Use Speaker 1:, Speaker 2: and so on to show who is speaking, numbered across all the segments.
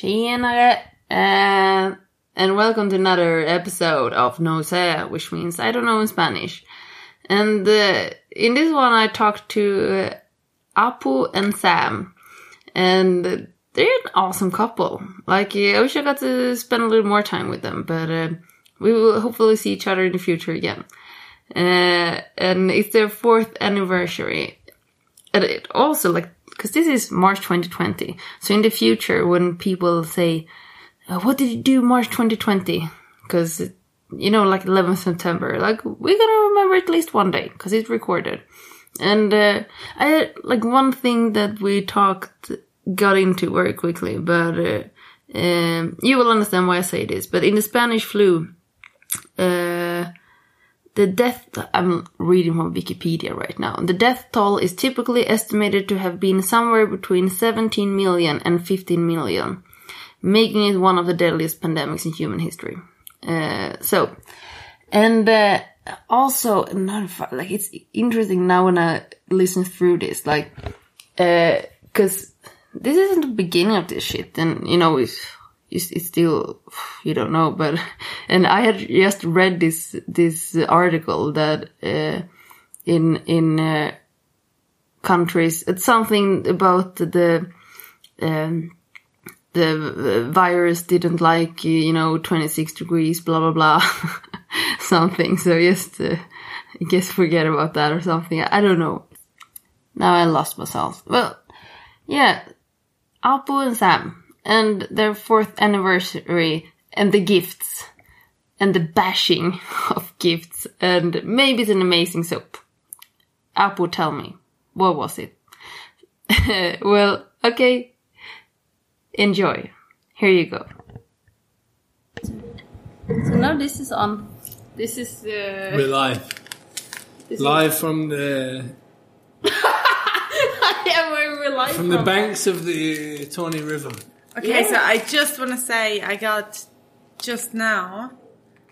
Speaker 1: Tjenare! Uh, and welcome to another episode of No Se, which means I don't know in Spanish. And uh, in this one, I talked to uh, Apu and Sam. And they're an awesome couple. Like, uh, I wish I got to spend a little more time with them, but uh, we will hopefully see each other in the future again. Uh, and it's their fourth anniversary. And it also, like, because this is March 2020. So in the future, when people say, uh, "What did you do March 2020?" Because you know, like 11th September, like we're gonna remember at least one day because it's recorded. And uh, I like one thing that we talked got into very quickly, but uh, um, you will understand why I say this. But in the Spanish flu, uh, the death I'm reading from Wikipedia right now. The death toll is typically estimated to have been somewhere between 17 million and 15 million, making it one of the deadliest pandemics in human history. Uh, so, and uh, also another fa- like it's interesting now when I listen through this, like, because Uh, this isn't the beginning of this shit, and you know it's it's, it's still you don't know but and i had just read this this article that uh, in in uh, countries it's something about the um, the virus didn't like you know 26 degrees blah blah blah something so just uh, i guess forget about that or something i don't know now i lost myself well yeah apu and sam and their fourth anniversary and the gifts and the bashing of gifts and maybe it's an amazing soap. Apu, tell me, what was it? well, okay, enjoy. Here you go. So now this is on. This is uh,
Speaker 2: We're live.
Speaker 1: this
Speaker 2: Live from the
Speaker 1: yeah, where we're live
Speaker 2: from the banks of the Tawny River.
Speaker 3: Okay,
Speaker 1: Yeah.
Speaker 3: so I just want to say I got just now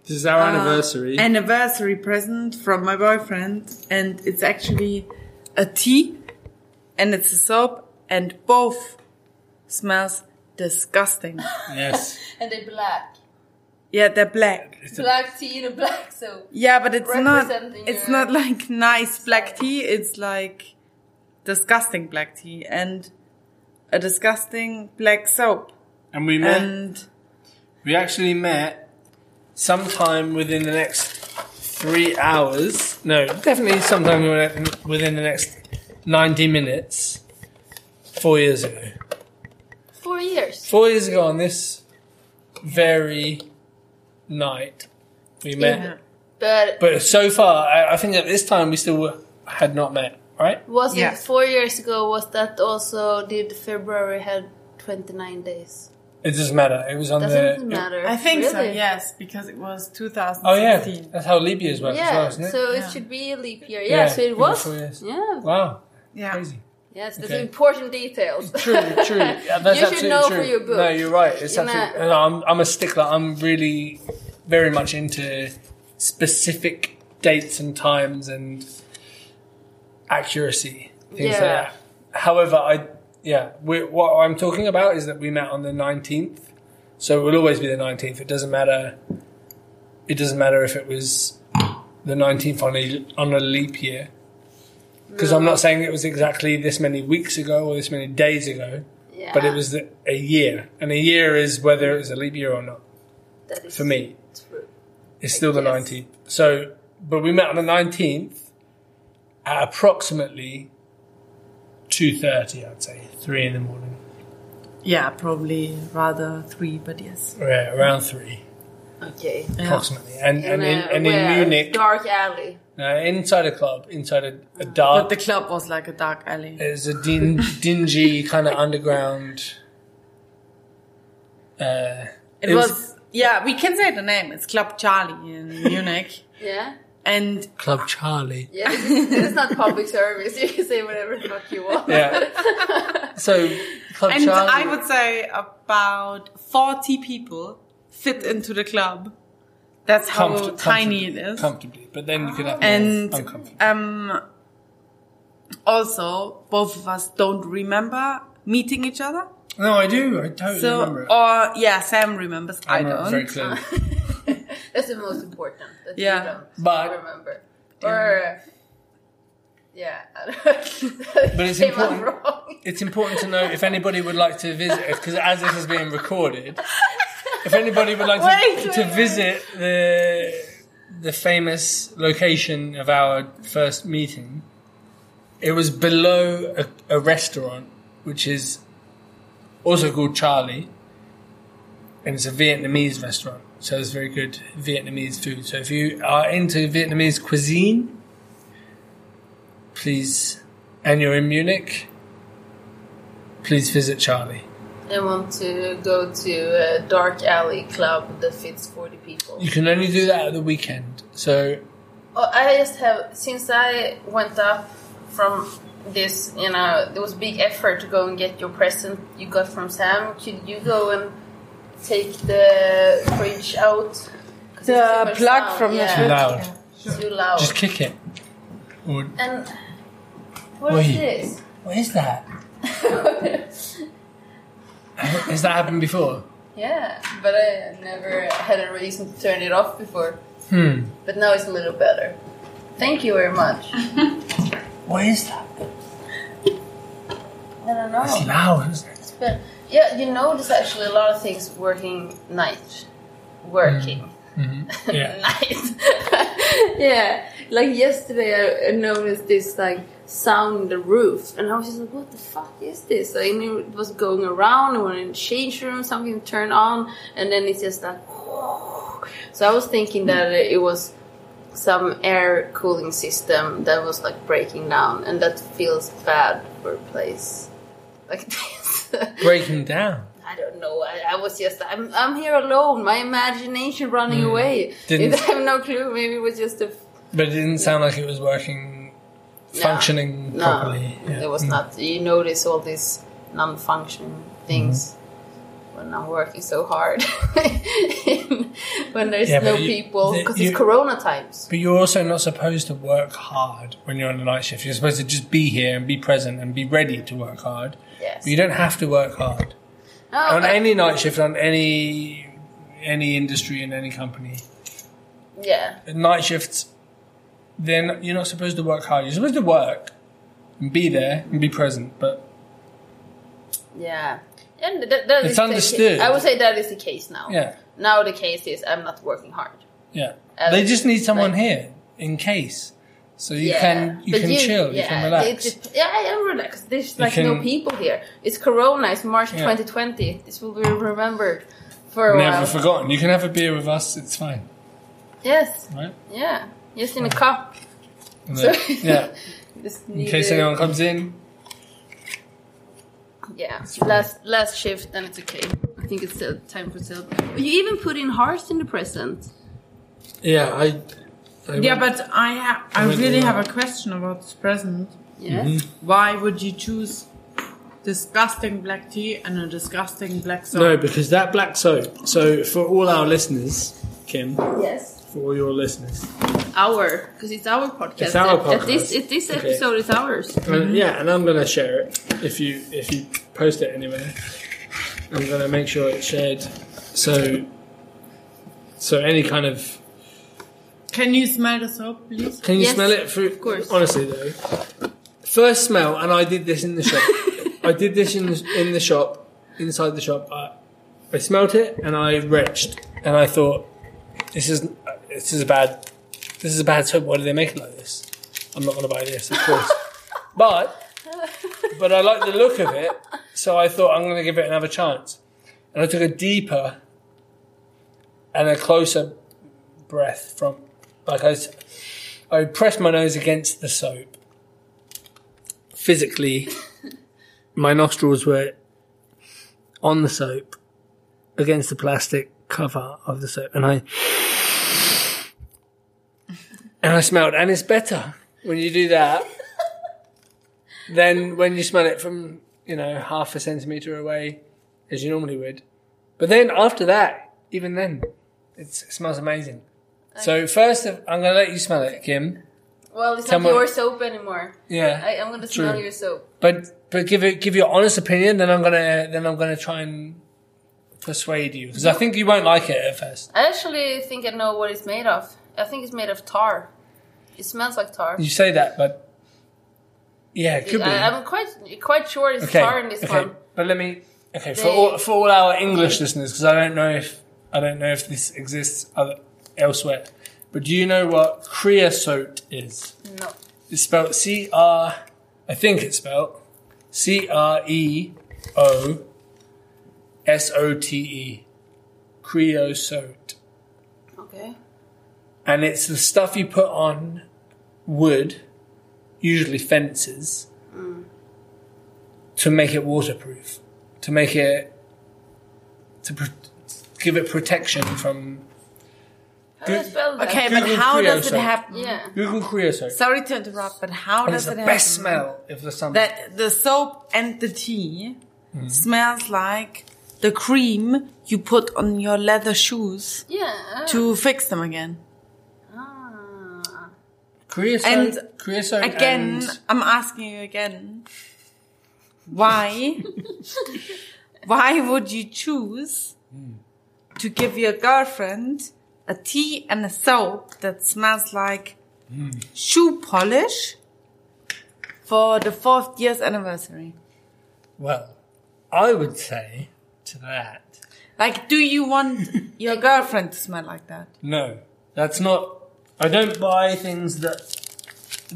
Speaker 2: This is our
Speaker 3: uh,
Speaker 2: anniversary.
Speaker 3: anniversary present from my boyfriend, and it's actually a tea, and it's a soap, and both smells disgusting.
Speaker 2: yes.
Speaker 1: and they're black,
Speaker 3: yeah, they're black.
Speaker 1: black tea and a black soap.
Speaker 3: Yeah, but it's not.
Speaker 1: Representing
Speaker 3: It's
Speaker 1: your-
Speaker 3: not like nice black tea. It's like disgusting black tea and a disgusting black soap.
Speaker 2: And we met
Speaker 3: And
Speaker 2: we actually met sometime within the next three hours. No, definitely sometime within- within the next ninety minutes. Four years ago.
Speaker 1: Four years
Speaker 2: Four years ago on this very night we met.
Speaker 3: Yeah.
Speaker 1: but
Speaker 2: But so far, I, I think at this time we still were, had not met, right?
Speaker 1: Was
Speaker 3: Yeah.
Speaker 1: it four years ago? Was that also did February had twenty nine days?
Speaker 2: It doesn't matter. It was on
Speaker 1: Doesn't
Speaker 2: the.
Speaker 1: matter.
Speaker 3: I think so.
Speaker 1: really.
Speaker 3: Yes, because it was
Speaker 2: Oh yeah,
Speaker 3: 2016.
Speaker 2: that's how Libya's worked as well,
Speaker 1: Yeah,
Speaker 2: isn't it?
Speaker 1: so
Speaker 3: Yeah.
Speaker 1: it should be a leap year. Yeah, so it was.
Speaker 2: four years.
Speaker 1: Yeah,
Speaker 2: Wow,
Speaker 3: Yeah.
Speaker 2: crazy.
Speaker 1: yes, that's
Speaker 2: Okay.
Speaker 1: important details.
Speaker 2: True, true. Yeah, that's
Speaker 1: You should
Speaker 2: absolutely
Speaker 1: know
Speaker 2: true.
Speaker 1: for your book.
Speaker 2: No, you're right. It's
Speaker 1: You're
Speaker 2: absolutely. No, I'm, I'm a stickler. I'm really very much into specific dates and times and accuracy things
Speaker 1: Yeah.
Speaker 2: like that. However, I yeah, we what I'm talking about is that we met on the 19th, so it will always be the 19th. It doesn't matter. It doesn't matter if it was the 19th on a on a leap year. Because I'm not saying it was exactly this many weeks ago or this many days ago,
Speaker 1: Yeah,
Speaker 2: but it was the, a year, and a year is whether it was a leap year or not.
Speaker 1: that is
Speaker 2: For me,
Speaker 1: True.
Speaker 2: it's still the
Speaker 1: Yes.
Speaker 2: 19th. So, but we met on the 19th at approximately 2.30, I'd say, 3 in the morning.
Speaker 3: Yeah, probably rather three, but yes.
Speaker 2: Yeah, around 3,
Speaker 1: Okay,
Speaker 2: approximately. And,
Speaker 1: In
Speaker 2: and, in,
Speaker 1: a-
Speaker 2: and in
Speaker 1: where?
Speaker 2: Munich,
Speaker 1: dark alley.
Speaker 2: uh, inside a club, inside a, a
Speaker 3: Ah. But
Speaker 2: dark,
Speaker 3: the club was like a dark alley.
Speaker 2: there's a din, dingy kind of underground... Uh,
Speaker 3: It, was, yeah, we can say the name. It's Club Charlie in Munich.
Speaker 1: Yeah,
Speaker 3: And
Speaker 2: Club Charlie.
Speaker 1: yeah, this is, this is not public service. You can say whatever the fuck you want.
Speaker 2: Yeah. So Club
Speaker 3: and
Speaker 2: Charlie.
Speaker 3: I would say about 40 people fit into the club. That's how
Speaker 2: Comfort-
Speaker 3: tiny it
Speaker 2: comfortably-
Speaker 3: is.
Speaker 2: Comfortably, but then you can have
Speaker 3: And-
Speaker 2: more uncomfortable.
Speaker 3: um also, both of us don't remember meeting each other.
Speaker 2: No, I do. I totally
Speaker 3: So,
Speaker 2: remember it.
Speaker 3: or yeah, Sam remembers. I,
Speaker 2: I remember it very
Speaker 3: don't.
Speaker 2: clearly.
Speaker 4: That's the most important. That
Speaker 3: Yeah.
Speaker 4: You don't
Speaker 2: But-
Speaker 4: remember. Or yeah, but
Speaker 2: it's important.
Speaker 4: Wrong.
Speaker 2: It's important to know if anybody would like to visit, because as this is being recorded, if anybody would like to,
Speaker 3: Wait,
Speaker 2: to
Speaker 3: wait, wait.
Speaker 2: visit the the famous location of our first meeting, it was below a, a restaurant which is also called Charlie, and it's a Vietnamese restaurant. So it's very good Vietnamese food. So if you are into Vietnamese cuisine, please, and you're in Munich, please visit Charlie.
Speaker 4: I want to go to a dark alley club that fits forty people.
Speaker 2: You can only do that at the weekend. So
Speaker 4: Oh, I just have since I went up from this, you know, there was big effort to go and get your present you got from Sam. Could you go and take the fridge out? 'Cause it's too
Speaker 3: The
Speaker 4: much
Speaker 3: plug
Speaker 4: sound.
Speaker 3: from
Speaker 4: yeah.
Speaker 2: Too
Speaker 3: the
Speaker 2: loud.
Speaker 4: It's Too loud.
Speaker 2: just kick it. Or,
Speaker 4: and what is
Speaker 2: Wait.
Speaker 4: this?
Speaker 2: what is that? Has that happened before?
Speaker 4: Yeah, but I never had a reason to turn it off before.
Speaker 2: Hmm.
Speaker 4: But now it's a little better. Thank you very much. I
Speaker 2: What is that?
Speaker 4: don't
Speaker 2: It's
Speaker 4: know.
Speaker 2: loud, isn't it?
Speaker 4: It's been- yeah, you know, there's actually a lot of things working night. Working.
Speaker 2: Mm-hmm. Yeah.
Speaker 4: nice. yeah, like yesterday I- I noticed this like sound on the roof, and I was just like, "What the fuck is this?" I knew it was going around. And when in the change room, something turned on, and then it's just like. So I was thinking that it was some air cooling system that was like breaking down, and that feels bad for a place like this.
Speaker 2: Breaking down.
Speaker 4: I don't know. I, I was just I'm I'm here alone. My imagination running away.
Speaker 2: Hmm. Didn't-
Speaker 4: I have no clue. Maybe it was just a f-
Speaker 2: But it didn't sound like it was working,
Speaker 4: No.
Speaker 2: functioning
Speaker 4: no.
Speaker 2: properly. Yeah. Hmm. Mm.
Speaker 4: It was not. You notice all these non-functioning things
Speaker 2: Hmm.
Speaker 4: when I'm working so hard. when there's
Speaker 2: Yeah,
Speaker 4: no
Speaker 2: but you-
Speaker 4: people
Speaker 2: the-
Speaker 4: because
Speaker 2: you-
Speaker 4: it's Corona times.
Speaker 2: But you're also not supposed to work hard when you're on a night shift. You're supposed to just be here and be present and be ready to work hard.
Speaker 4: Yes. Oh,
Speaker 2: But you don't have to work hard.
Speaker 4: No,
Speaker 2: on
Speaker 4: but-
Speaker 2: any night shift, on any any industry in any company,
Speaker 4: yeah.
Speaker 2: night shifts, then you're not supposed to work hard. You're supposed to work and be there and be present. But
Speaker 4: Yeah. And that, that
Speaker 2: It's
Speaker 4: is the ca-
Speaker 2: understood.
Speaker 4: I would say that is the case now.
Speaker 2: yeah,
Speaker 4: Now the case is I'm not working hard.
Speaker 2: yeah,
Speaker 4: Uh,
Speaker 2: they just need someone
Speaker 4: like-
Speaker 2: here in case, so you
Speaker 4: Yeah,
Speaker 2: can you
Speaker 4: but
Speaker 2: can chill, you can relax.
Speaker 4: it- it- yeah, I am relaxed. There's like no
Speaker 2: can-
Speaker 4: people here. It's Corona. It's March
Speaker 2: Yeah.
Speaker 4: 2020. This will be remembered for a
Speaker 2: Never
Speaker 4: while.
Speaker 2: forgotten. You can have a beer with us. It's fine,
Speaker 4: Yes.
Speaker 2: right?
Speaker 4: Yeah. Just in a cup.
Speaker 2: And
Speaker 4: So-
Speaker 2: then- yeah.
Speaker 4: Just
Speaker 2: In
Speaker 4: need
Speaker 2: case
Speaker 4: a-
Speaker 2: anyone comes in,
Speaker 4: Yeah. Last last shift, and it's okay. I think it's uh, time for sale. You even put in hearts in the present.
Speaker 2: yeah, I. I
Speaker 3: Yeah, but I ha- I
Speaker 2: went
Speaker 3: really
Speaker 2: to-
Speaker 3: have a question about this present.
Speaker 4: Yes.
Speaker 2: Mm-hmm.
Speaker 3: Why would you choose disgusting black tea and a disgusting black soap?
Speaker 5: No, because that black soap. So for all our listeners, Kim, for
Speaker 4: Yes.
Speaker 5: all your listeners,
Speaker 4: Our because it's our podcast.
Speaker 5: It's our
Speaker 4: At- At this
Speaker 5: podcast.
Speaker 4: at this
Speaker 5: Okay.
Speaker 4: episode is ours.
Speaker 5: And- yeah, and I'm gonna share it if you if you post it anywhere. I'm gonna make sure it's shared. So so any kind of
Speaker 3: Can you smell the soap, please?
Speaker 5: can you
Speaker 4: Yes,
Speaker 5: smell it? Through, of
Speaker 4: course.
Speaker 5: Honestly though, first smell, and I did this in the shop. I did this in the, in the shop, inside the shop. I, I smelt it and I retched.
Speaker 2: and I thought, this is this is a bad this is a bad soap. Why do they make it like this? I'm not going to buy this, of course. but but I like the look of it, so I thought I'm going to give it another chance. And I took a deeper and a closer breath from like I s- I pressed my nose against the soap. Physically, my nostrils were on the soap against the plastic cover of the soap, and I and I smelled, and it's better when you do that than when you smell it from you know half a centimeter away, as you normally would. But then after that, even then, it's, it smells amazing. So first, of- I'm going to let you smell it, Kim.
Speaker 4: Well, it's
Speaker 2: Tell
Speaker 4: not
Speaker 2: me-
Speaker 4: your soap anymore.
Speaker 2: Yeah.
Speaker 4: I, I'm gonna
Speaker 2: True.
Speaker 4: smell your soap.
Speaker 2: But but give it give your honest opinion. Then I'm gonna then I'm gonna try and persuade you because I think you won't like it at first.
Speaker 4: I actually think I know what it's made of. I think it's made of tar. It smells like tar.
Speaker 2: You say that, but yeah, it could be.
Speaker 4: I, I'm quite quite sure it's
Speaker 2: okay,
Speaker 4: tar in this
Speaker 2: okay.
Speaker 4: one.
Speaker 2: But let me okay for
Speaker 4: They-
Speaker 2: all for all our English listeners because I don't know if I don't know if this exists other, elsewhere. But do you know what creosote is?
Speaker 4: No.
Speaker 2: It's spelled C R. I think it's spelled C R E O S O T E. Creosote,
Speaker 4: Okay.
Speaker 2: and it's the stuff you put on wood, usually fences, to make it waterproof, to make it to pro- give it protection from
Speaker 4: How do I
Speaker 2: Good.
Speaker 4: spell that?
Speaker 3: Okay,
Speaker 2: Google
Speaker 3: but how does it
Speaker 2: Creosote.
Speaker 3: happen?
Speaker 4: Yeah.
Speaker 2: Google creosote.
Speaker 3: Sorry to interrupt, but how
Speaker 2: and it's
Speaker 3: does
Speaker 2: the
Speaker 3: it happen?
Speaker 2: best smell of the summer.
Speaker 3: That the soap and the tea
Speaker 2: Mm-hmm.
Speaker 3: smells like the cream you put on your leather shoes
Speaker 4: Yeah.
Speaker 3: to fix them again.
Speaker 4: Ah.
Speaker 2: creosote,
Speaker 3: And
Speaker 2: creosote
Speaker 3: Again,
Speaker 2: and-
Speaker 3: I'm asking you again. Why? why would you choose to give your girlfriend a tea and a soap that smells like shoe polish for the fourth year's anniversary?
Speaker 2: Well, I would say to that,
Speaker 3: Like, do you want your girlfriend to smell like that?
Speaker 2: no, that's not. I don't buy things that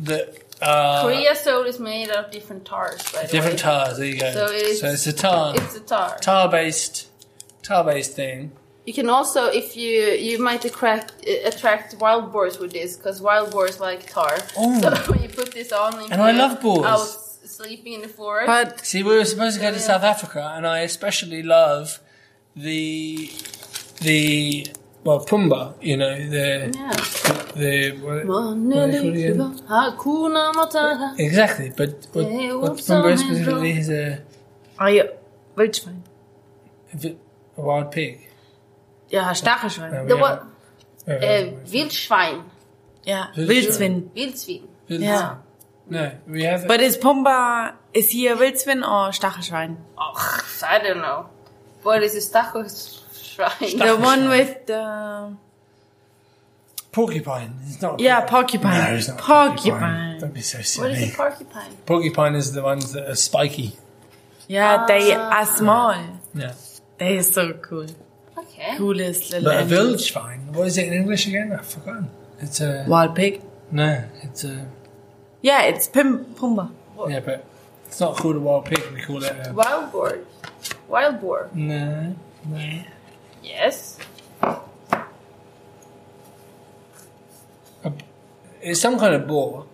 Speaker 2: that uh,
Speaker 4: Creosote is made of different tars, by the
Speaker 2: different
Speaker 4: way.
Speaker 2: tars. There you go.
Speaker 4: So it's-
Speaker 2: it's a tar,
Speaker 4: It's a tar.
Speaker 2: tar based, tar based thing.
Speaker 4: You can also, if you, you might attract attract wild boars with this, because wild boars like tar.
Speaker 2: Oh.
Speaker 4: So you put this on, if
Speaker 2: And I
Speaker 4: you're
Speaker 2: love boars.
Speaker 4: Out sleeping in the forest.
Speaker 3: But
Speaker 2: See, we were supposed to go to South Africa, and I especially love the the well Pumba. You know the
Speaker 4: yeah.
Speaker 2: the what- what do you call it again?
Speaker 4: Hakuna Matata.
Speaker 2: exactly. But what,
Speaker 4: Yeah,
Speaker 2: what
Speaker 4: what's
Speaker 2: Pumba
Speaker 4: on
Speaker 2: specifically
Speaker 4: his
Speaker 2: is a,
Speaker 3: are you Wildschwein?
Speaker 2: a wild pig.
Speaker 3: Ja, Stachelschwein.
Speaker 4: The
Speaker 2: Yeah.
Speaker 4: what?
Speaker 2: Uh,
Speaker 4: Uh, Wildschwein.
Speaker 3: Ja,
Speaker 2: Wildschwein.
Speaker 3: Wildschwein.
Speaker 4: Wildsvin.
Speaker 3: Yeah.
Speaker 2: No, we have.
Speaker 3: But is Pumba, is he a Wildschwein or Stachelschwein?
Speaker 4: Oh, I don't know. What is a Stachelschwein?
Speaker 3: The one with the
Speaker 2: porcupine. It's not.
Speaker 3: yeah porcupine.
Speaker 2: No, it's not
Speaker 3: porcupine.
Speaker 2: Don't be so
Speaker 4: What
Speaker 2: silly.
Speaker 4: is a porcupine?
Speaker 2: porcupine is the ones that are spiky.
Speaker 4: Ah.
Speaker 3: Yeah, they are small.
Speaker 2: Yeah.
Speaker 3: They are so cool.
Speaker 4: Okay.
Speaker 3: Coolest little
Speaker 2: But a
Speaker 3: animal.
Speaker 2: village vine. What is it in English again? I've forgotten. It's a
Speaker 3: wild pig.
Speaker 2: no. It's a
Speaker 3: Yeah, it's Pim Pumba.
Speaker 2: yeah, but it's not called a wild pig. We call it a
Speaker 4: Wild boar. Wild boar.
Speaker 2: no. no.
Speaker 4: Yes.
Speaker 2: It's some kind of boar.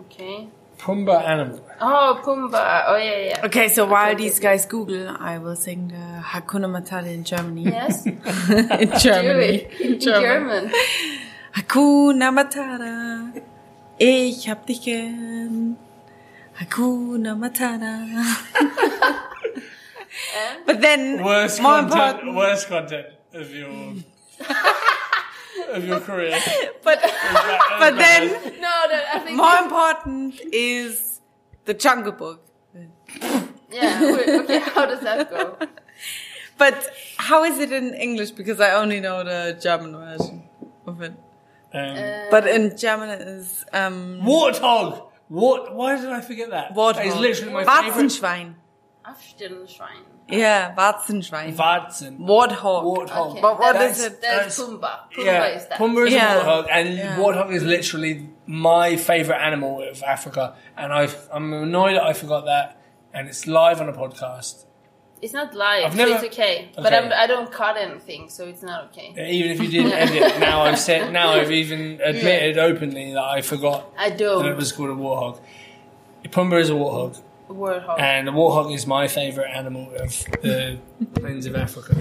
Speaker 4: Okay.
Speaker 2: Pumba animal.
Speaker 4: Oh, Pumbaa. Oh, yeah, yeah.
Speaker 3: Okay, so while these guys Google, I will sing the Hakuna Matata in Germany.
Speaker 4: Yes. Do
Speaker 3: in Germany.
Speaker 4: it. In German.
Speaker 3: Hakuna Matata, ich hab dich gern. Hakuna Matata. but then,
Speaker 2: Worst
Speaker 3: more
Speaker 2: content.
Speaker 3: important,
Speaker 2: Worst content of your of your career.
Speaker 3: but but then.
Speaker 4: No, no, I think.
Speaker 3: More important is the Jungle Book.
Speaker 4: Yeah. we're- Okay, how does that go?
Speaker 3: But how is it in English? Because I only know the German version of it.
Speaker 2: Um,
Speaker 3: But in German it is um,
Speaker 2: Warthog. What? Why did I forget that? That is
Speaker 3: Warthog.
Speaker 2: literally my favorite.
Speaker 3: Warzenschwein.
Speaker 4: Aftenschwein.
Speaker 3: Yeah, Warzenschwein.
Speaker 2: Warzen.
Speaker 3: Warthog.
Speaker 2: Warthog.
Speaker 4: Okay.
Speaker 3: But what
Speaker 4: That's-
Speaker 3: is it?
Speaker 4: That is
Speaker 2: That's-
Speaker 4: Pumbaa. Pumbaa
Speaker 2: Yeah,
Speaker 4: is that.
Speaker 2: Pumba is
Speaker 3: Yeah.
Speaker 2: a warthog, and
Speaker 3: Yeah.
Speaker 2: warthog is literally my favorite animal of Africa. And I, I'm annoyed that I forgot that. And it's live on a podcast.
Speaker 4: It's not live,
Speaker 2: I've
Speaker 4: so
Speaker 2: never-
Speaker 4: it's okay. But
Speaker 2: Okay.
Speaker 4: I'm, I don't cut anything, so it's not okay.
Speaker 2: Even if you didn't edit, now I've said, now I've even admitted openly that I forgot
Speaker 4: I
Speaker 2: that it
Speaker 4: don't.
Speaker 2: was called a warthog. Pumba is a warthog,
Speaker 4: Warthog.
Speaker 2: and a warthog is my favorite animal of the plains of Africa.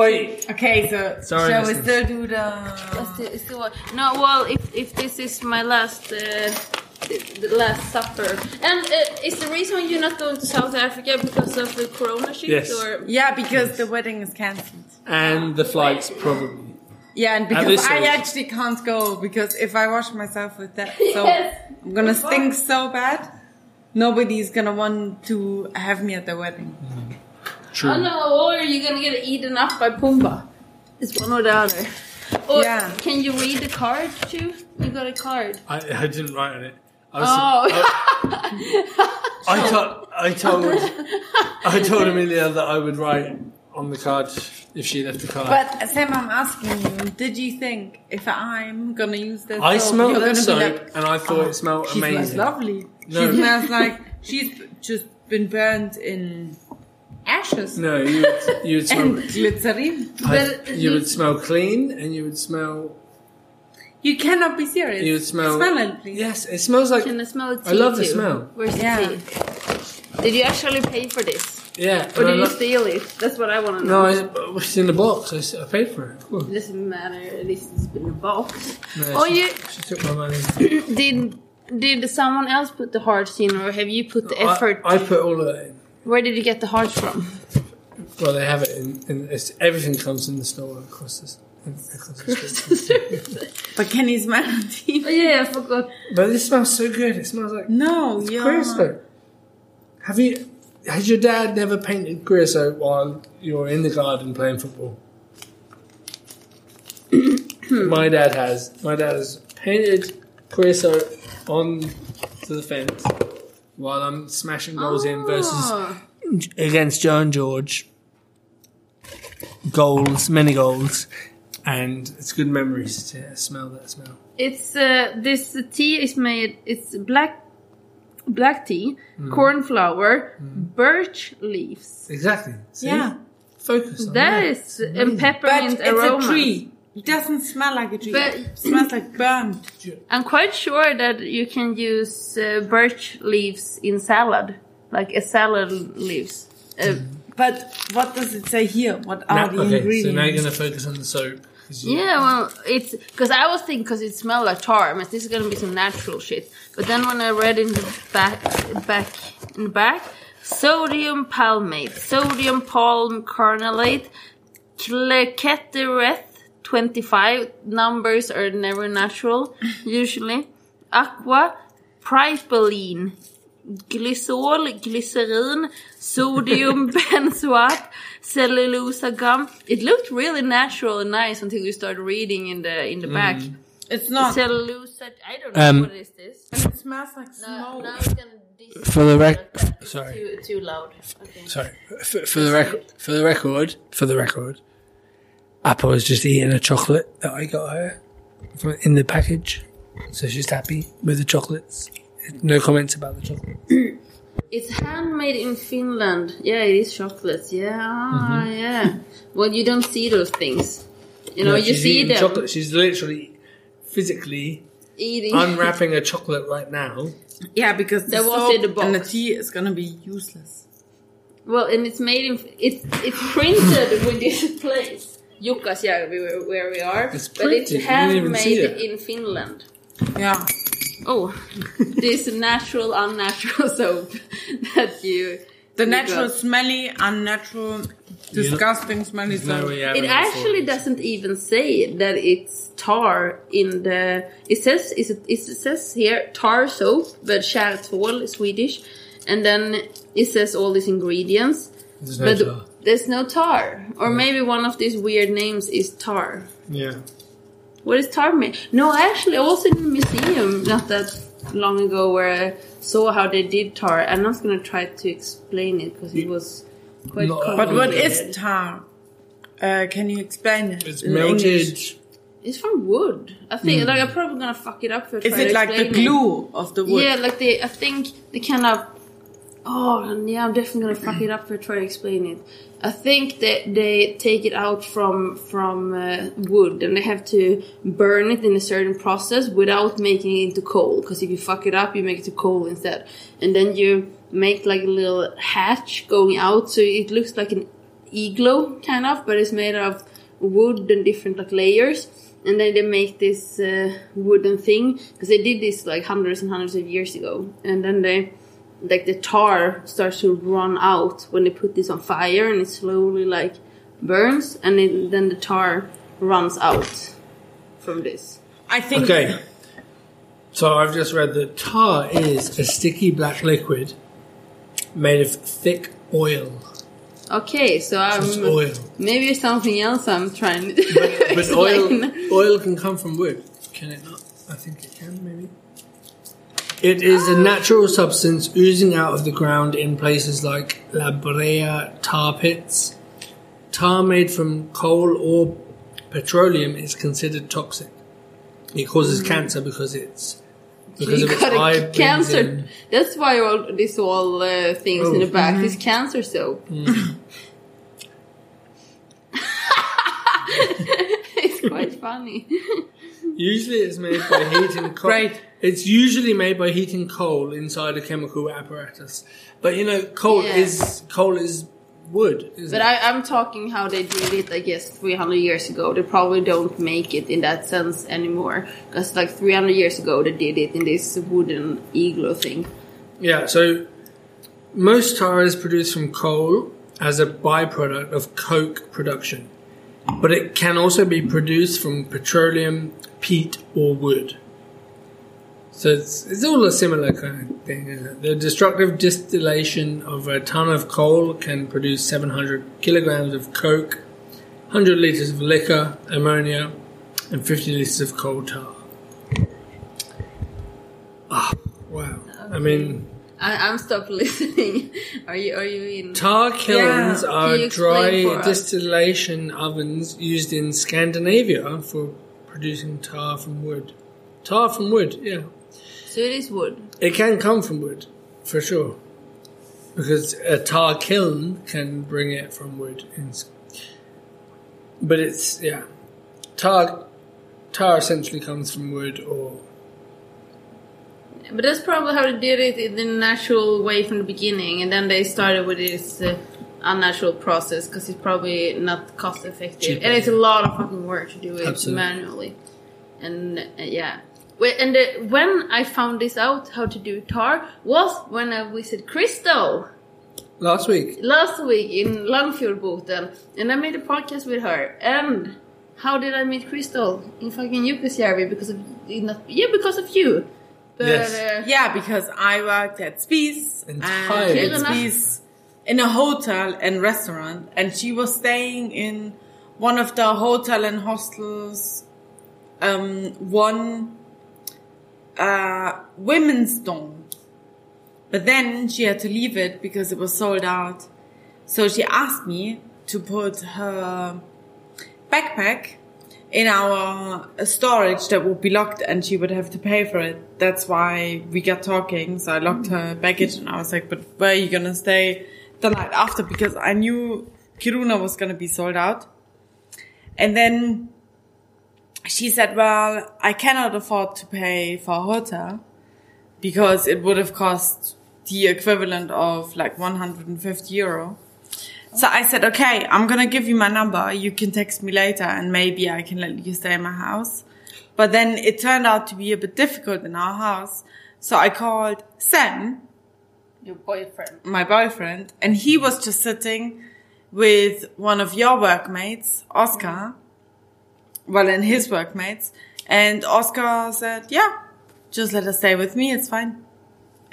Speaker 2: Wait,
Speaker 3: Okay, so
Speaker 2: Sorry,
Speaker 3: shall we
Speaker 2: listeners.
Speaker 3: still do the?
Speaker 4: Let's do- let's do what- No, well, if, if this is my last uh, the the last supper, and uh, is the reason you're not going to South Africa because of the corona shit?
Speaker 2: Yes.
Speaker 4: Or
Speaker 3: Yeah, because the wedding is cancelled.
Speaker 2: and the flights probably.
Speaker 3: Yeah, and
Speaker 2: At
Speaker 3: because
Speaker 2: this
Speaker 3: I
Speaker 2: age.
Speaker 3: actually can't go because if I wash myself with that soap,
Speaker 6: Yes.
Speaker 3: I'm gonna stink so bad. Nobody's gonna want to have me at the wedding.
Speaker 2: True.
Speaker 4: Oh no, or you're gonna get eaten up by Pumbaa. It's one or the other. Or
Speaker 3: Yeah.
Speaker 4: can you read the card too? You got a card.
Speaker 2: I, I didn't write on it. I was,
Speaker 4: Oh,
Speaker 3: Oh,
Speaker 2: I told I told I told Amelia that I would write on the card if she left the card.
Speaker 3: But Sam, I'm asking you, did you think if I'm gonna use that
Speaker 2: I
Speaker 3: soap,
Speaker 2: smelled
Speaker 3: you're
Speaker 2: that
Speaker 3: gonna
Speaker 2: soap
Speaker 3: be like,
Speaker 2: and I thought it smelled
Speaker 3: she smells
Speaker 2: amazing.
Speaker 3: lovely.
Speaker 2: No.
Speaker 3: She smells like she's just been burned in ashes
Speaker 2: No, you would, you would smell.
Speaker 3: and glycerine.
Speaker 2: I,
Speaker 4: But
Speaker 2: you would
Speaker 4: you-
Speaker 2: smell clean, and you would smell.
Speaker 3: You cannot be serious.
Speaker 2: You would smell.
Speaker 3: Smell it, please.
Speaker 2: Yes, it smells like.
Speaker 4: can I smell the tea
Speaker 2: I love the
Speaker 4: too?
Speaker 2: smell.
Speaker 4: Where's the
Speaker 3: Yeah.
Speaker 4: tea? Did you actually pay for this,
Speaker 2: Yeah.
Speaker 4: or
Speaker 2: and I
Speaker 4: did you
Speaker 2: lo-
Speaker 4: steal it? That's what I want to know.
Speaker 2: no, I- it's in the box. I, s- I paid for it. Cool.
Speaker 4: It doesn't matter. This has been a box.
Speaker 2: No,
Speaker 4: Oh,
Speaker 2: she,
Speaker 4: you
Speaker 2: she took my money.
Speaker 4: did. Did someone else put the hearts in, or have you put the effort?
Speaker 2: I, I put all of that in.
Speaker 4: Where did you get the hearts from?
Speaker 2: Well, they have it in. in it's, everything comes in the store across this. Across the street.
Speaker 3: But can you smell it?
Speaker 4: Oh, yeah, I forgot.
Speaker 2: but this smells so good. It smells like
Speaker 3: No, yeah.
Speaker 2: creosote. Have you? Has your dad never painted creosote while you were in the garden playing football? My dad has. My dad has painted creosote on to the fence while I'm smashing goals in versus
Speaker 3: Ah.
Speaker 4: Oh.
Speaker 2: against Joan George. Goals, many goals, and it's good memories to smell that smell.
Speaker 4: It's uh, this tea is made. It's black, black tea,
Speaker 3: Mm.
Speaker 4: corn flour, birch leaves.
Speaker 2: Exactly. See?
Speaker 3: Yeah.
Speaker 2: Focus. On
Speaker 4: That
Speaker 2: that
Speaker 4: is and
Speaker 3: But
Speaker 4: peppermint
Speaker 3: it's
Speaker 4: aroma.
Speaker 3: a tree. It doesn't smell like a tree.
Speaker 4: But-
Speaker 3: it smells like burnt.
Speaker 4: I'm quite sure that you can use uh, birch leaves in salad, like a salad leaves. Uh,
Speaker 3: But what does it say here? What
Speaker 2: Now-
Speaker 3: are the
Speaker 2: okay,
Speaker 3: ingredients?
Speaker 2: so now you're going to focus on the soap. 'cause you-
Speaker 4: yeah, well, it's because I was thinking because it smells like tar. I mean, this is gonna be some natural shit. But then when I read in the back, back, in the back, sodium palmate, sodium palm carnallate, clecatereth 25. Numbers are never natural usually. Aqua, propylene, glycerol, glycerin, sodium benzoate, cellulosa gum. It looked really natural and nice until you started reading in the in the back.
Speaker 3: It's not.
Speaker 4: Cellulosa. I don't know
Speaker 2: Um,
Speaker 4: what is this.
Speaker 3: it smells like
Speaker 4: No,
Speaker 3: smoke.
Speaker 4: now it's gonna. dis-
Speaker 2: For the rec-
Speaker 4: It's
Speaker 2: Sorry.
Speaker 4: Too, too loud. Okay.
Speaker 2: Sorry. For, for the record, for the record, for the record, Appa was just eating a chocolate that I got her from, in the package, so she's happy with the chocolates. No comments about the chocolate.
Speaker 4: It's handmade in Finland. Yeah, it is chocolates. Yeah, yeah. Well, you don't see those things. You know,
Speaker 2: No,
Speaker 4: you
Speaker 2: she's
Speaker 4: see
Speaker 2: eating
Speaker 4: them
Speaker 2: Chocolate. She's literally physically
Speaker 4: eating.
Speaker 2: unwrapping a chocolate right now.
Speaker 3: Yeah, because the
Speaker 4: That was
Speaker 3: soap
Speaker 4: in the box.
Speaker 3: and the tea is gonna be useless.
Speaker 4: Well, and it's made in it's it's printed with this place, Jukkasjärvi, where, where we are.
Speaker 2: It's
Speaker 4: but it's
Speaker 2: printed, you didn't even see
Speaker 4: handmade
Speaker 2: it.
Speaker 4: in Finland.
Speaker 3: Yeah.
Speaker 4: Oh, this natural, unnatural soap that you.
Speaker 3: The
Speaker 4: you
Speaker 3: natural,
Speaker 4: got.
Speaker 3: smelly, unnatural, disgusting, smelly soap.
Speaker 4: It actually doesn't even say that it's tar in the. It says is it, it says here tar soap, but kärrtvål is Swedish, and then it says all these ingredients, but there's no tar. Or maybe one of these weird names is tar.
Speaker 2: Yeah.
Speaker 4: What is tar made? No, actually, also in the museum not that long ago where I saw how they did tar. I'm not gonna try to explain it because it was quite.
Speaker 2: Not-
Speaker 4: complicated.
Speaker 3: uh, But what is tar? Uh, can you explain it?
Speaker 2: It's
Speaker 3: in
Speaker 2: melted.
Speaker 3: English?
Speaker 4: It's from wood. I think like I'm probably gonna fuck it up for
Speaker 3: Mm. Is it like the glue of the wood?
Speaker 4: Yeah, like they. I think they kind of. Oh and yeah, I'm definitely gonna fuck it up for trying to explain it. I think that they take it out from from uh, wood and they have to burn it in a certain process without making it into coal. Because if you fuck it up, you make it to coal instead, and then you make like a little hatch going out, so it looks like an igloo kind of, but it's made of wood and different like layers. And then they make this uh, wooden thing because they did this like hundreds and hundreds of years ago. And then they like the tar starts to run out when they put this on fire, and it slowly like burns, and it, then the tar runs out from this.
Speaker 3: I think.
Speaker 2: Okay.
Speaker 7: So I've just read that
Speaker 2: Tar is a sticky black liquid made of thick oil.
Speaker 4: Okay, so
Speaker 2: It's
Speaker 4: I'm
Speaker 2: oil.
Speaker 4: maybe something else I'm trying to but,
Speaker 2: But oil, oil can come from wood, can it not? I think it can, maybe. It is a natural substance oozing out of the ground in places like La Brea tar pits. Tar made from coal or petroleum is considered toxic. It causes cancer because it's because
Speaker 4: Hmm. you
Speaker 2: of its
Speaker 4: got a
Speaker 2: high
Speaker 4: cancer.
Speaker 2: benzene.
Speaker 4: That's why all these all uh, things in the
Speaker 2: Oh. Mm.
Speaker 4: back is cancer soap. it's quite funny.
Speaker 2: Usually, it's made by heating coal.
Speaker 3: Right.
Speaker 2: It's usually made by heating coal inside a chemical apparatus. But you know, coal
Speaker 4: Yeah.
Speaker 2: is coal is wood. Isn't
Speaker 4: But
Speaker 2: it?
Speaker 4: I, I'm talking how they did it, I guess, 300 years ago. They probably don't make it in that sense anymore. Because, like, 300 years ago, they did it in this wooden igloo thing.
Speaker 2: yeah. So most tar is produced from coal as a byproduct of coke production, but it can also be produced from petroleum, peat, or wood. So it's, it's all a similar kind of thing, isn't it? The destructive distillation of a ton of coal can produce 700 kilograms of coke, 100 liters of liquor, ammonia, and 50 liters of coal tar. Ah, wow. I mean,
Speaker 4: I, I'm stopped listening. Are you Are you in?
Speaker 2: Tar kilns
Speaker 3: Yeah.
Speaker 2: are
Speaker 4: Can you explain for
Speaker 2: dry
Speaker 4: us?
Speaker 2: distillation ovens used in Scandinavia for producing tar from wood. Tar from wood, yeah.
Speaker 4: So it is wood.
Speaker 2: It can come from wood, for sure. Because a tar kiln can bring it from wood. In, s- but it's, yeah. Tar, tar essentially comes from wood or.
Speaker 4: But that's probably how they did it in the natural way from the beginning, and then they started with this uh, unnatural process because it's probably not cost effective,
Speaker 2: Cheaper,
Speaker 4: and it's a lot of fucking work to do it
Speaker 2: Absolutely.
Speaker 4: manually. And uh, yeah, Wait, and uh, when I found this out, how to do tar was when I visited Crystal
Speaker 2: Last week,
Speaker 4: last week in Langfjordboten, and I made a podcast with her. And how did I meet Crystal in fucking Jukkasjärvi? Because of yeah, because of you. But,
Speaker 2: Yes.
Speaker 4: uh,
Speaker 3: Yeah, because I worked at Spies
Speaker 2: And
Speaker 3: and
Speaker 2: tired.
Speaker 3: at
Speaker 4: Fair
Speaker 3: Spies in a hotel and restaurant, and she was staying in one of the hotel and hostels, um, one uh, women's dorm. But then she had to leave it because it was sold out. So she asked me to put her backpack in our storage that would be locked and she would have to pay for it. That's why we got talking. So I locked her baggage and I was like, but where are you going to stay the night after? Because I knew Kiruna was going to be sold out. And then she said, well, I cannot afford to pay for a hotel because it would have cost the equivalent of like 150 euro. So I said, okay, I'm going to give you my number. You can text me later and maybe I can let you stay in my house. But then it turned out to be a bit difficult in our house. So I called Sam,
Speaker 4: your boyfriend.
Speaker 3: my boyfriend, and he was just sitting with one of your workmates, Oscar. Well, and his workmates. And Oscar said, yeah, just let her stay with me. It's fine.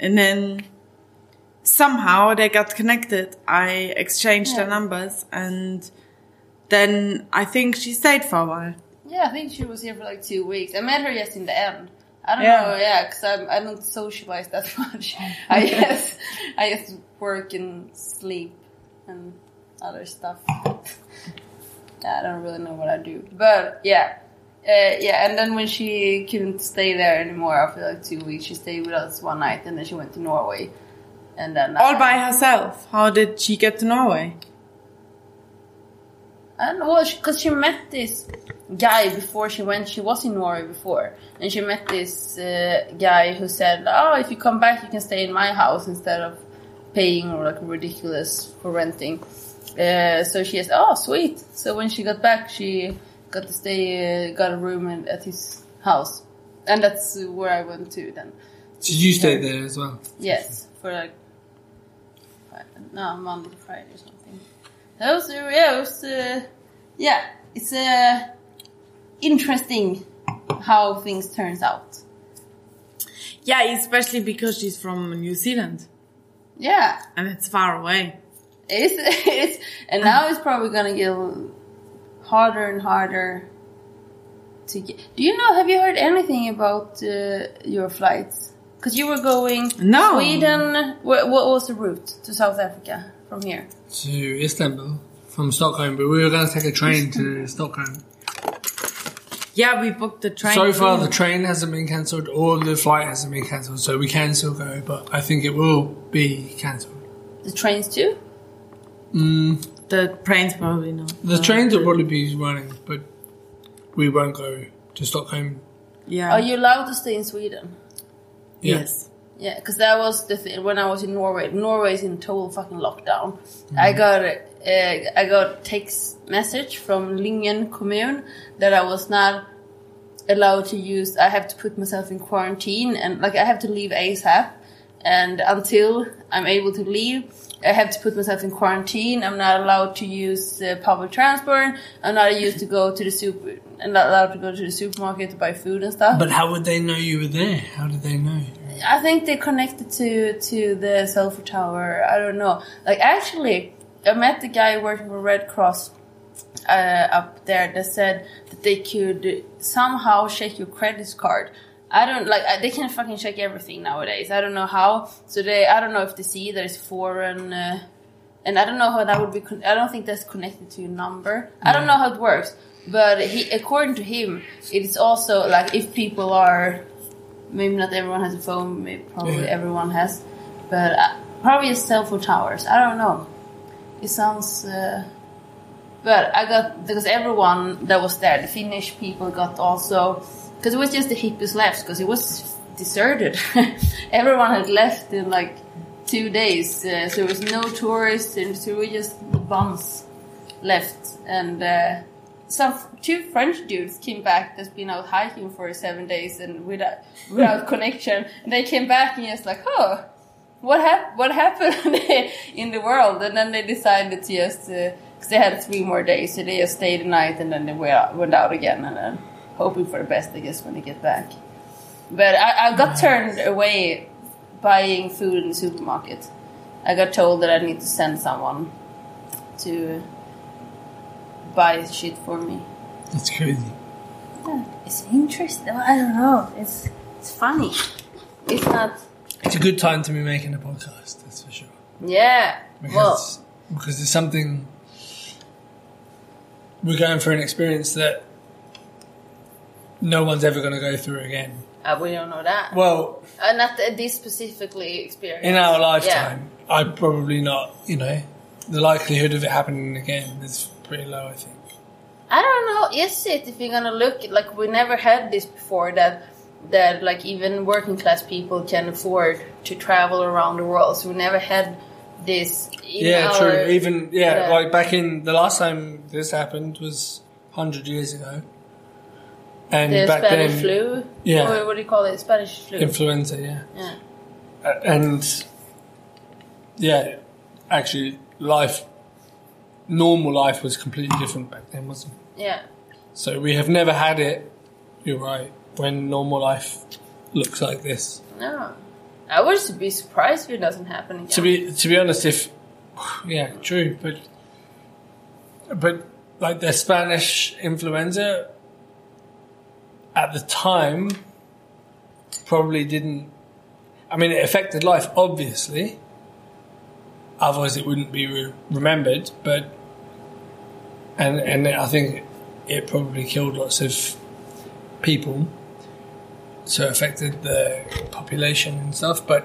Speaker 3: And then somehow they got connected. I exchanged their numbers and then I think she stayed for a while.
Speaker 4: Yeah, I think she was here for like two weeks. I met her just in the end. I don't
Speaker 3: Yeah.
Speaker 4: know, yeah, because I'm I don't socialize that much. I guess I just work and sleep and other stuff. I don't really know what I do, but yeah, uh, yeah. And then when she couldn't stay there anymore after like two weeks, she stayed with us one night, and then she went to Norway. And then
Speaker 3: All
Speaker 4: uh,
Speaker 3: Oh, by herself. How did she get to Norway?
Speaker 4: And well, because she, met this guy before she went, she was in Norway before, and she met this uh, guy who said, "Oh, if you come back, you can stay in my house instead of paying or like ridiculous for renting." Uh, so she said, "Oh, sweet!" So when she got back, she got to stay, uh, got a room in, at his house, and that's where I went to then.
Speaker 2: did you stay there as well?
Speaker 4: Yes, for like Fri- no Monday, to Friday or something. That was uh, yeah, it was uh, yeah. It's uh, interesting how things turns out.
Speaker 3: Yeah, especially because she's from New Zealand
Speaker 4: Yeah,
Speaker 3: and it's far away.
Speaker 4: it's it's and now it's probably gonna get harder and harder to get. Do you know? Have you heard anything about uh, your flights? Because you were going
Speaker 3: No.
Speaker 4: Sweden. What, what was the route to South Africa from here?
Speaker 2: to Istanbul from Stockholm, but we were going to take a train to Stockholm.
Speaker 3: Yeah, we booked the train.
Speaker 2: So far,
Speaker 3: too.
Speaker 2: the train hasn't been cancelled or the flight hasn't been cancelled, so we can still go, but I think it will be cancelled.
Speaker 4: The trains too.
Speaker 3: the train's probably not.
Speaker 2: The trains will probably be running, but we won't go to Stockholm.
Speaker 3: Yeah.
Speaker 4: Are Oh, you allowed to stay in Sweden?
Speaker 2: Yeah.
Speaker 3: Yes.
Speaker 4: Yeah, because that was the thing when I was in Norway. Norway's in total fucking lockdown. I got uh, I got text message from Lingen commune that I was not allowed to use. I have to put myself in quarantine and like I have to leave ASAP. And until I'm able to leave, I have to put myself in quarantine. I'm not allowed to use uh, public transport. I'm not used to go to the super. I'm not allowed to go to the supermarket to buy food and stuff.
Speaker 2: But how would they know you were there? How did they know?
Speaker 4: I think they're connected to to the Sulphur Tower. I don't know. Like actually, I met the guy working for Red Cross uh, up there that said that they could somehow check your credit card. I don't like I- they can fucking check everything nowadays. I don't know how. So they I don't know if they see that it's foreign. Uh, and I don't know how that would be. Con- I don't think that's connected to your number. I don't know how it works, but he, according to him, it's also like if people are, maybe not everyone has a phone, maybe probably
Speaker 2: Yeah.
Speaker 4: everyone has, but uh, probably it's cell phone towers. I don't know. It sounds. Uh, but I got because everyone that was there, the Finnish people got also because it was just the hippies left because it was deserted. everyone had left in like two days, uh, so there was no tourists, and so we just bums left. And uh, some two French dudes came back that's been out hiking for seven days and without without connection, and they came back and just like, oh, what hap- what happened in the world? And then they decided to just because they had three more days, so they just stayed the night and then they went out, went out again and then hoping for the best, I guess, when they get back. But I, I got turned away buying food in the supermarket. I got told that I need to send someone to buy shit for me.
Speaker 2: That's crazy.
Speaker 4: It's interesting. I don't know. It's it's funny. It's not.
Speaker 2: It's a good time to be making a podcast, that's for sure.
Speaker 4: Yeah. well,
Speaker 2: because because there's something we're going for an experience that no one's ever going to go through again.
Speaker 4: uh, we don't know that.
Speaker 2: Well,
Speaker 4: Uh, not th- this specifically experience.
Speaker 2: in our
Speaker 4: Yeah.
Speaker 2: lifetime, I probably not. You know, the likelihood of it happening again is pretty low. I think.
Speaker 4: I don't know. Is it if you're gonna look like we never had this before that that like even working class people can afford to travel around the world. So we never had this. In
Speaker 2: yeah,
Speaker 4: our,
Speaker 2: true. Even yeah,
Speaker 4: yeah.
Speaker 2: like back in the last time this happened was hundred years ago, and
Speaker 4: the
Speaker 2: back
Speaker 4: Spanish
Speaker 2: then
Speaker 4: flu.
Speaker 2: yeah.
Speaker 4: Or what do you call it? Spanish flu.
Speaker 2: influenza. Yeah.
Speaker 4: yeah.
Speaker 2: A- and yeah, actually, life, normal life was completely different back then, wasn't it?
Speaker 4: Yeah.
Speaker 2: So we have never had it. You're right. When normal life looks like this,
Speaker 4: No. I would be surprised if it doesn't happen again.
Speaker 2: to be to be honest, if yeah, true, but but like the Spanish influenza at the time probably didn't. I mean, it affected life, obviously. Otherwise, it wouldn't be re- remembered. But and and I think it probably killed lots of people, so it affected the population and stuff. But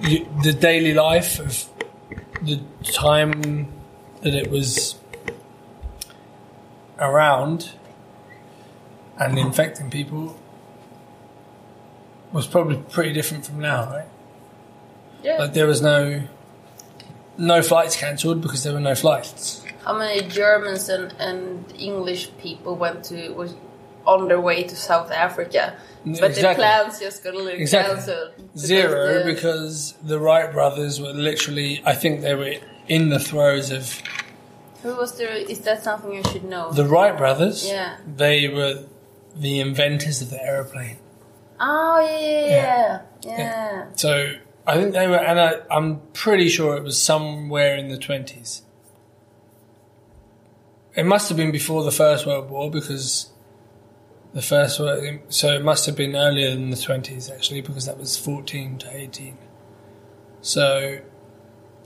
Speaker 2: you, the daily life of the time that it was around and infecting people was probably pretty different from now, right?
Speaker 4: yeah.
Speaker 2: Like there was no no flights cancelled because there were no flights.
Speaker 4: How many Germans and, and English people went to was on their way to South Africa, but the
Speaker 2: exactly.
Speaker 4: plans just got a little
Speaker 2: Exactly.
Speaker 4: cancelled. because
Speaker 2: Zero
Speaker 4: the-
Speaker 2: because the Wright brothers were literally I think they were in the throes of
Speaker 4: Who was the? Is that something you should know?
Speaker 2: The Wright brothers.
Speaker 4: Yeah.
Speaker 2: They were the inventors of the aeroplane.
Speaker 4: oh yeah yeah yeah, yeah.
Speaker 2: So I think they were, and I, I'm pretty sure it was somewhere in the 20s. It must have been before the First World War because the First World, so it must have been earlier than the 20s actually because that was 14 to 18. So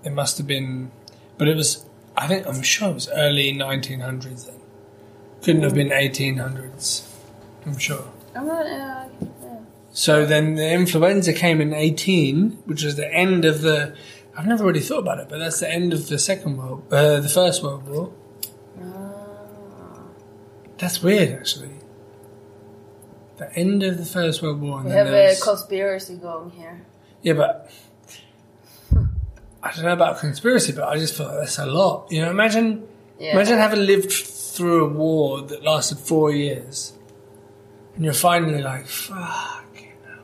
Speaker 2: it must have been, but it was, I think, I'm sure it was early 1900s then. Couldn't have been 1800s, I'm sure.
Speaker 4: I'm not, uh,
Speaker 2: So then the influenza came in 18, which is the end of the. I've never really thought about it, but that's the end of the Second World, uh, the First World War. Ah. That's weird, actually. The end of the First World War. And
Speaker 4: we
Speaker 2: then
Speaker 4: have
Speaker 2: there
Speaker 4: a
Speaker 2: was-
Speaker 4: conspiracy going here.
Speaker 2: yeah, but I don't know about conspiracy, but I just feel like that's a lot. You know, imagine
Speaker 4: Yeah.
Speaker 2: imagine having lived through a war that lasted four years, and you're finally like, "Fuck, you know,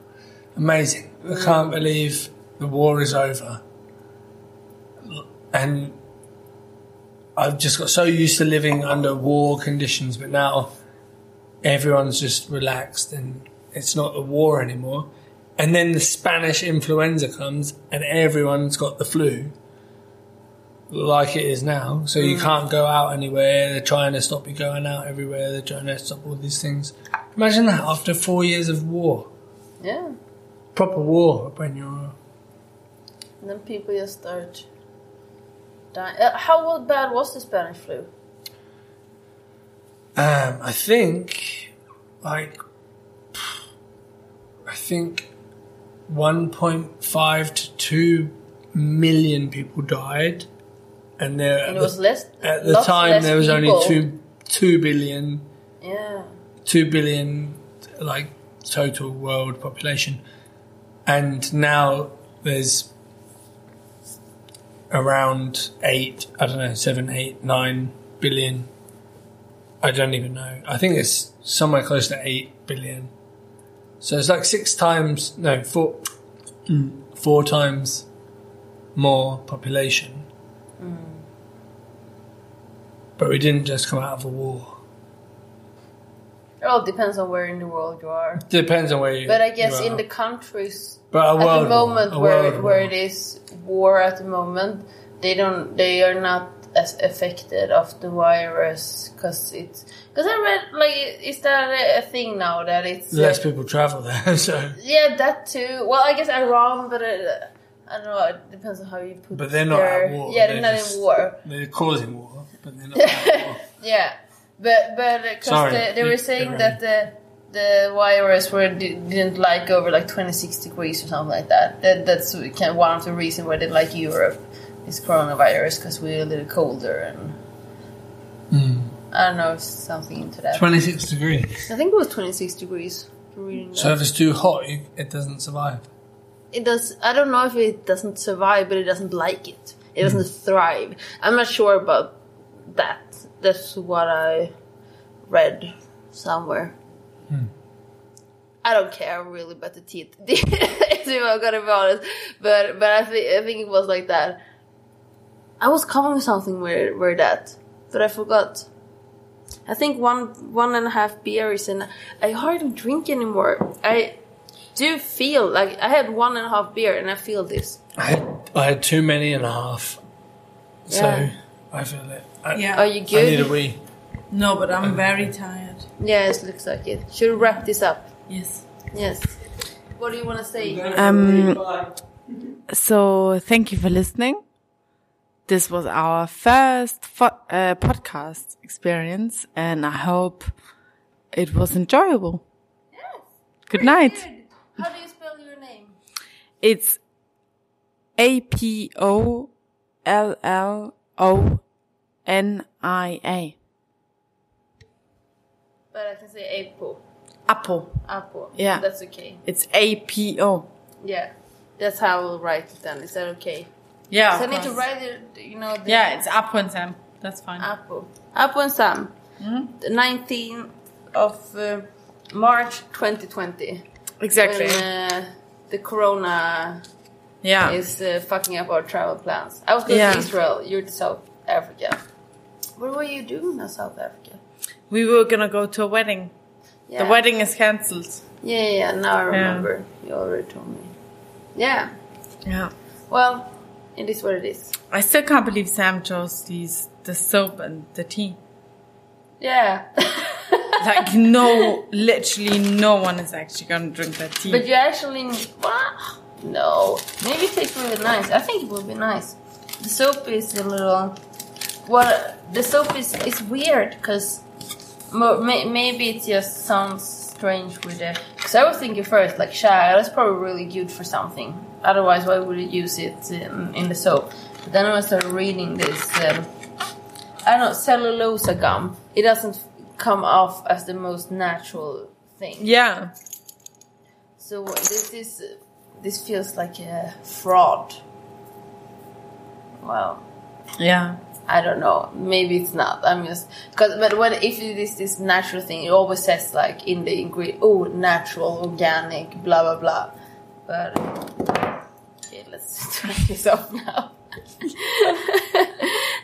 Speaker 2: amazing! I can't believe the war is over." And I've just got so used to living under war conditions, but now everyone's just relaxed and it's not a war anymore. And then the Spanish influenza comes and everyone's got the flu, like it is now. So
Speaker 4: Mm.
Speaker 2: you can't go out anywhere. They're trying to stop you going out everywhere. They're trying to stop all these things. Imagine that after four years of war,
Speaker 4: Yeah.
Speaker 2: proper war, when you're.
Speaker 4: And then people just start dying. Uh, how bad was the Spanish flu?
Speaker 2: Um, I think, like, I think 1.5 to 2 million people died. And, there,
Speaker 4: And it was less.
Speaker 2: At the
Speaker 4: lots
Speaker 2: time,
Speaker 4: less
Speaker 2: there was
Speaker 4: people.
Speaker 2: only two two billion
Speaker 4: Yeah.
Speaker 2: two billion like total world population, and now there's around eight. I don't know, seven, eight, nine billion. I don't even know. I think it's somewhere close to eight billion. So it's like six times no four four times more population.
Speaker 4: Mm.
Speaker 2: But we didn't just come out of a war.
Speaker 4: It all depends on where in the world you are.
Speaker 2: Depends on where you.
Speaker 4: But I guess
Speaker 2: you
Speaker 4: in
Speaker 2: are.
Speaker 4: the countries
Speaker 2: But a
Speaker 4: at
Speaker 2: world
Speaker 4: the moment
Speaker 2: war, a
Speaker 4: where
Speaker 2: world
Speaker 4: where
Speaker 2: war.
Speaker 4: it is war at the moment, they don't they are not as affected of the virus because it's because I read like is that a- a thing now that it's uh,
Speaker 2: less people travel there, so
Speaker 4: yeah that too. Well, I guess Iran, but it, I don't know. It depends on how you put.
Speaker 2: But they're not at
Speaker 4: their-
Speaker 2: war,
Speaker 4: Yeah,
Speaker 2: they're
Speaker 4: they're not
Speaker 2: just-
Speaker 4: in war.
Speaker 2: they're causing war, but they're not. at war.
Speaker 4: Yeah, but but
Speaker 2: Sorry,
Speaker 4: because they, they
Speaker 2: you-
Speaker 4: were saying
Speaker 2: you're
Speaker 4: that the the virus were di- didn't like over like twenty six degrees or something like that. That that's can, one of the reasons why they like Europe is coronavirus because we're a little colder and I don't know if something into that.
Speaker 2: Twenty-six degrees.
Speaker 4: I think it was twenty six degrees. from reading
Speaker 2: So
Speaker 4: that.
Speaker 2: if it's too hot, you, it doesn't survive.
Speaker 4: it does. I don't know if it doesn't survive, but it doesn't like it. It doesn't thrive. I'm not sure about that. That's what I read somewhere. I don't care really about the teeth. if I'm gonna be honest, but but I think I think it was like that. I was covering something where where that, but I forgot. I think one one and a half beers, and I hardly drink anymore. I do feel like I had one and a half beer, and I feel this.
Speaker 2: I had, I had too many and a half,
Speaker 4: Yeah.
Speaker 2: so I feel it. I,
Speaker 4: Are
Speaker 3: Yeah.
Speaker 4: you
Speaker 2: I need a
Speaker 4: good?
Speaker 2: wee.
Speaker 3: No, but I'm very tired.
Speaker 4: yes, looks like it. Should we wrap this up?
Speaker 3: Yes.
Speaker 4: Yes. What do you want to say?
Speaker 3: Um, so thank you for listening. This was our first fo- uh, podcast experience, and I hope it was enjoyable. Good night.
Speaker 4: How do you spell your name?
Speaker 3: It's A P O L L O N I A.
Speaker 4: But I can say Apo.
Speaker 3: Apo.
Speaker 4: Apo.
Speaker 3: Yeah.
Speaker 4: That's okay.
Speaker 3: It's A P O.
Speaker 4: Yeah. That's how I will write it then. Is that okay?
Speaker 3: Yeah.
Speaker 4: So I
Speaker 3: of
Speaker 4: need to
Speaker 3: course.
Speaker 4: write it, you know, the
Speaker 3: Yeah, it's Apo and Sam. That's fine.
Speaker 4: Apo. Apo and Sam.
Speaker 3: Hmm?
Speaker 4: The 19th of uh, March 2020.
Speaker 3: exactly.
Speaker 4: When uh, the corona
Speaker 3: yeah.
Speaker 4: is uh, fucking up our travel plans. I was going
Speaker 3: Ah. Yeah.
Speaker 4: to Israel, you're to South Africa. What were you doing in South Africa?
Speaker 3: We were gonna go to a wedding.
Speaker 4: Yeah.
Speaker 3: The wedding is cancelled.
Speaker 4: Yeah, yeah, yeah, now I remember. You already told me. Yeah.
Speaker 3: Yeah.
Speaker 4: Well, it is what it is.
Speaker 3: I still can't believe Sam chose these the soap and the tea.
Speaker 4: Yeah.
Speaker 3: Like no, literally no one is actually gonna drink that tea.
Speaker 4: but you actually. Ah, No. Maybe it tastes really nice. I think it will be nice. The soap is a little. Well, the soap is, is weird because may, maybe it just sounds strange with the. Because I was thinking first, like, shy, that's probably really good for something. Otherwise, why would you use it in, in the soap? But then I started reading this. Um, I don't know, cellulose gum. It doesn't come off as the most natural thing.
Speaker 3: yeah,
Speaker 4: So this is this feels like a fraud. Well,
Speaker 3: yeah,
Speaker 4: I don't know. Maybe it's not. I'm just because but when if it is this natural thing, it always says like in the ingredient, oh, natural, organic, blah blah blah. But okay, let's turn this off now.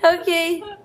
Speaker 4: okay,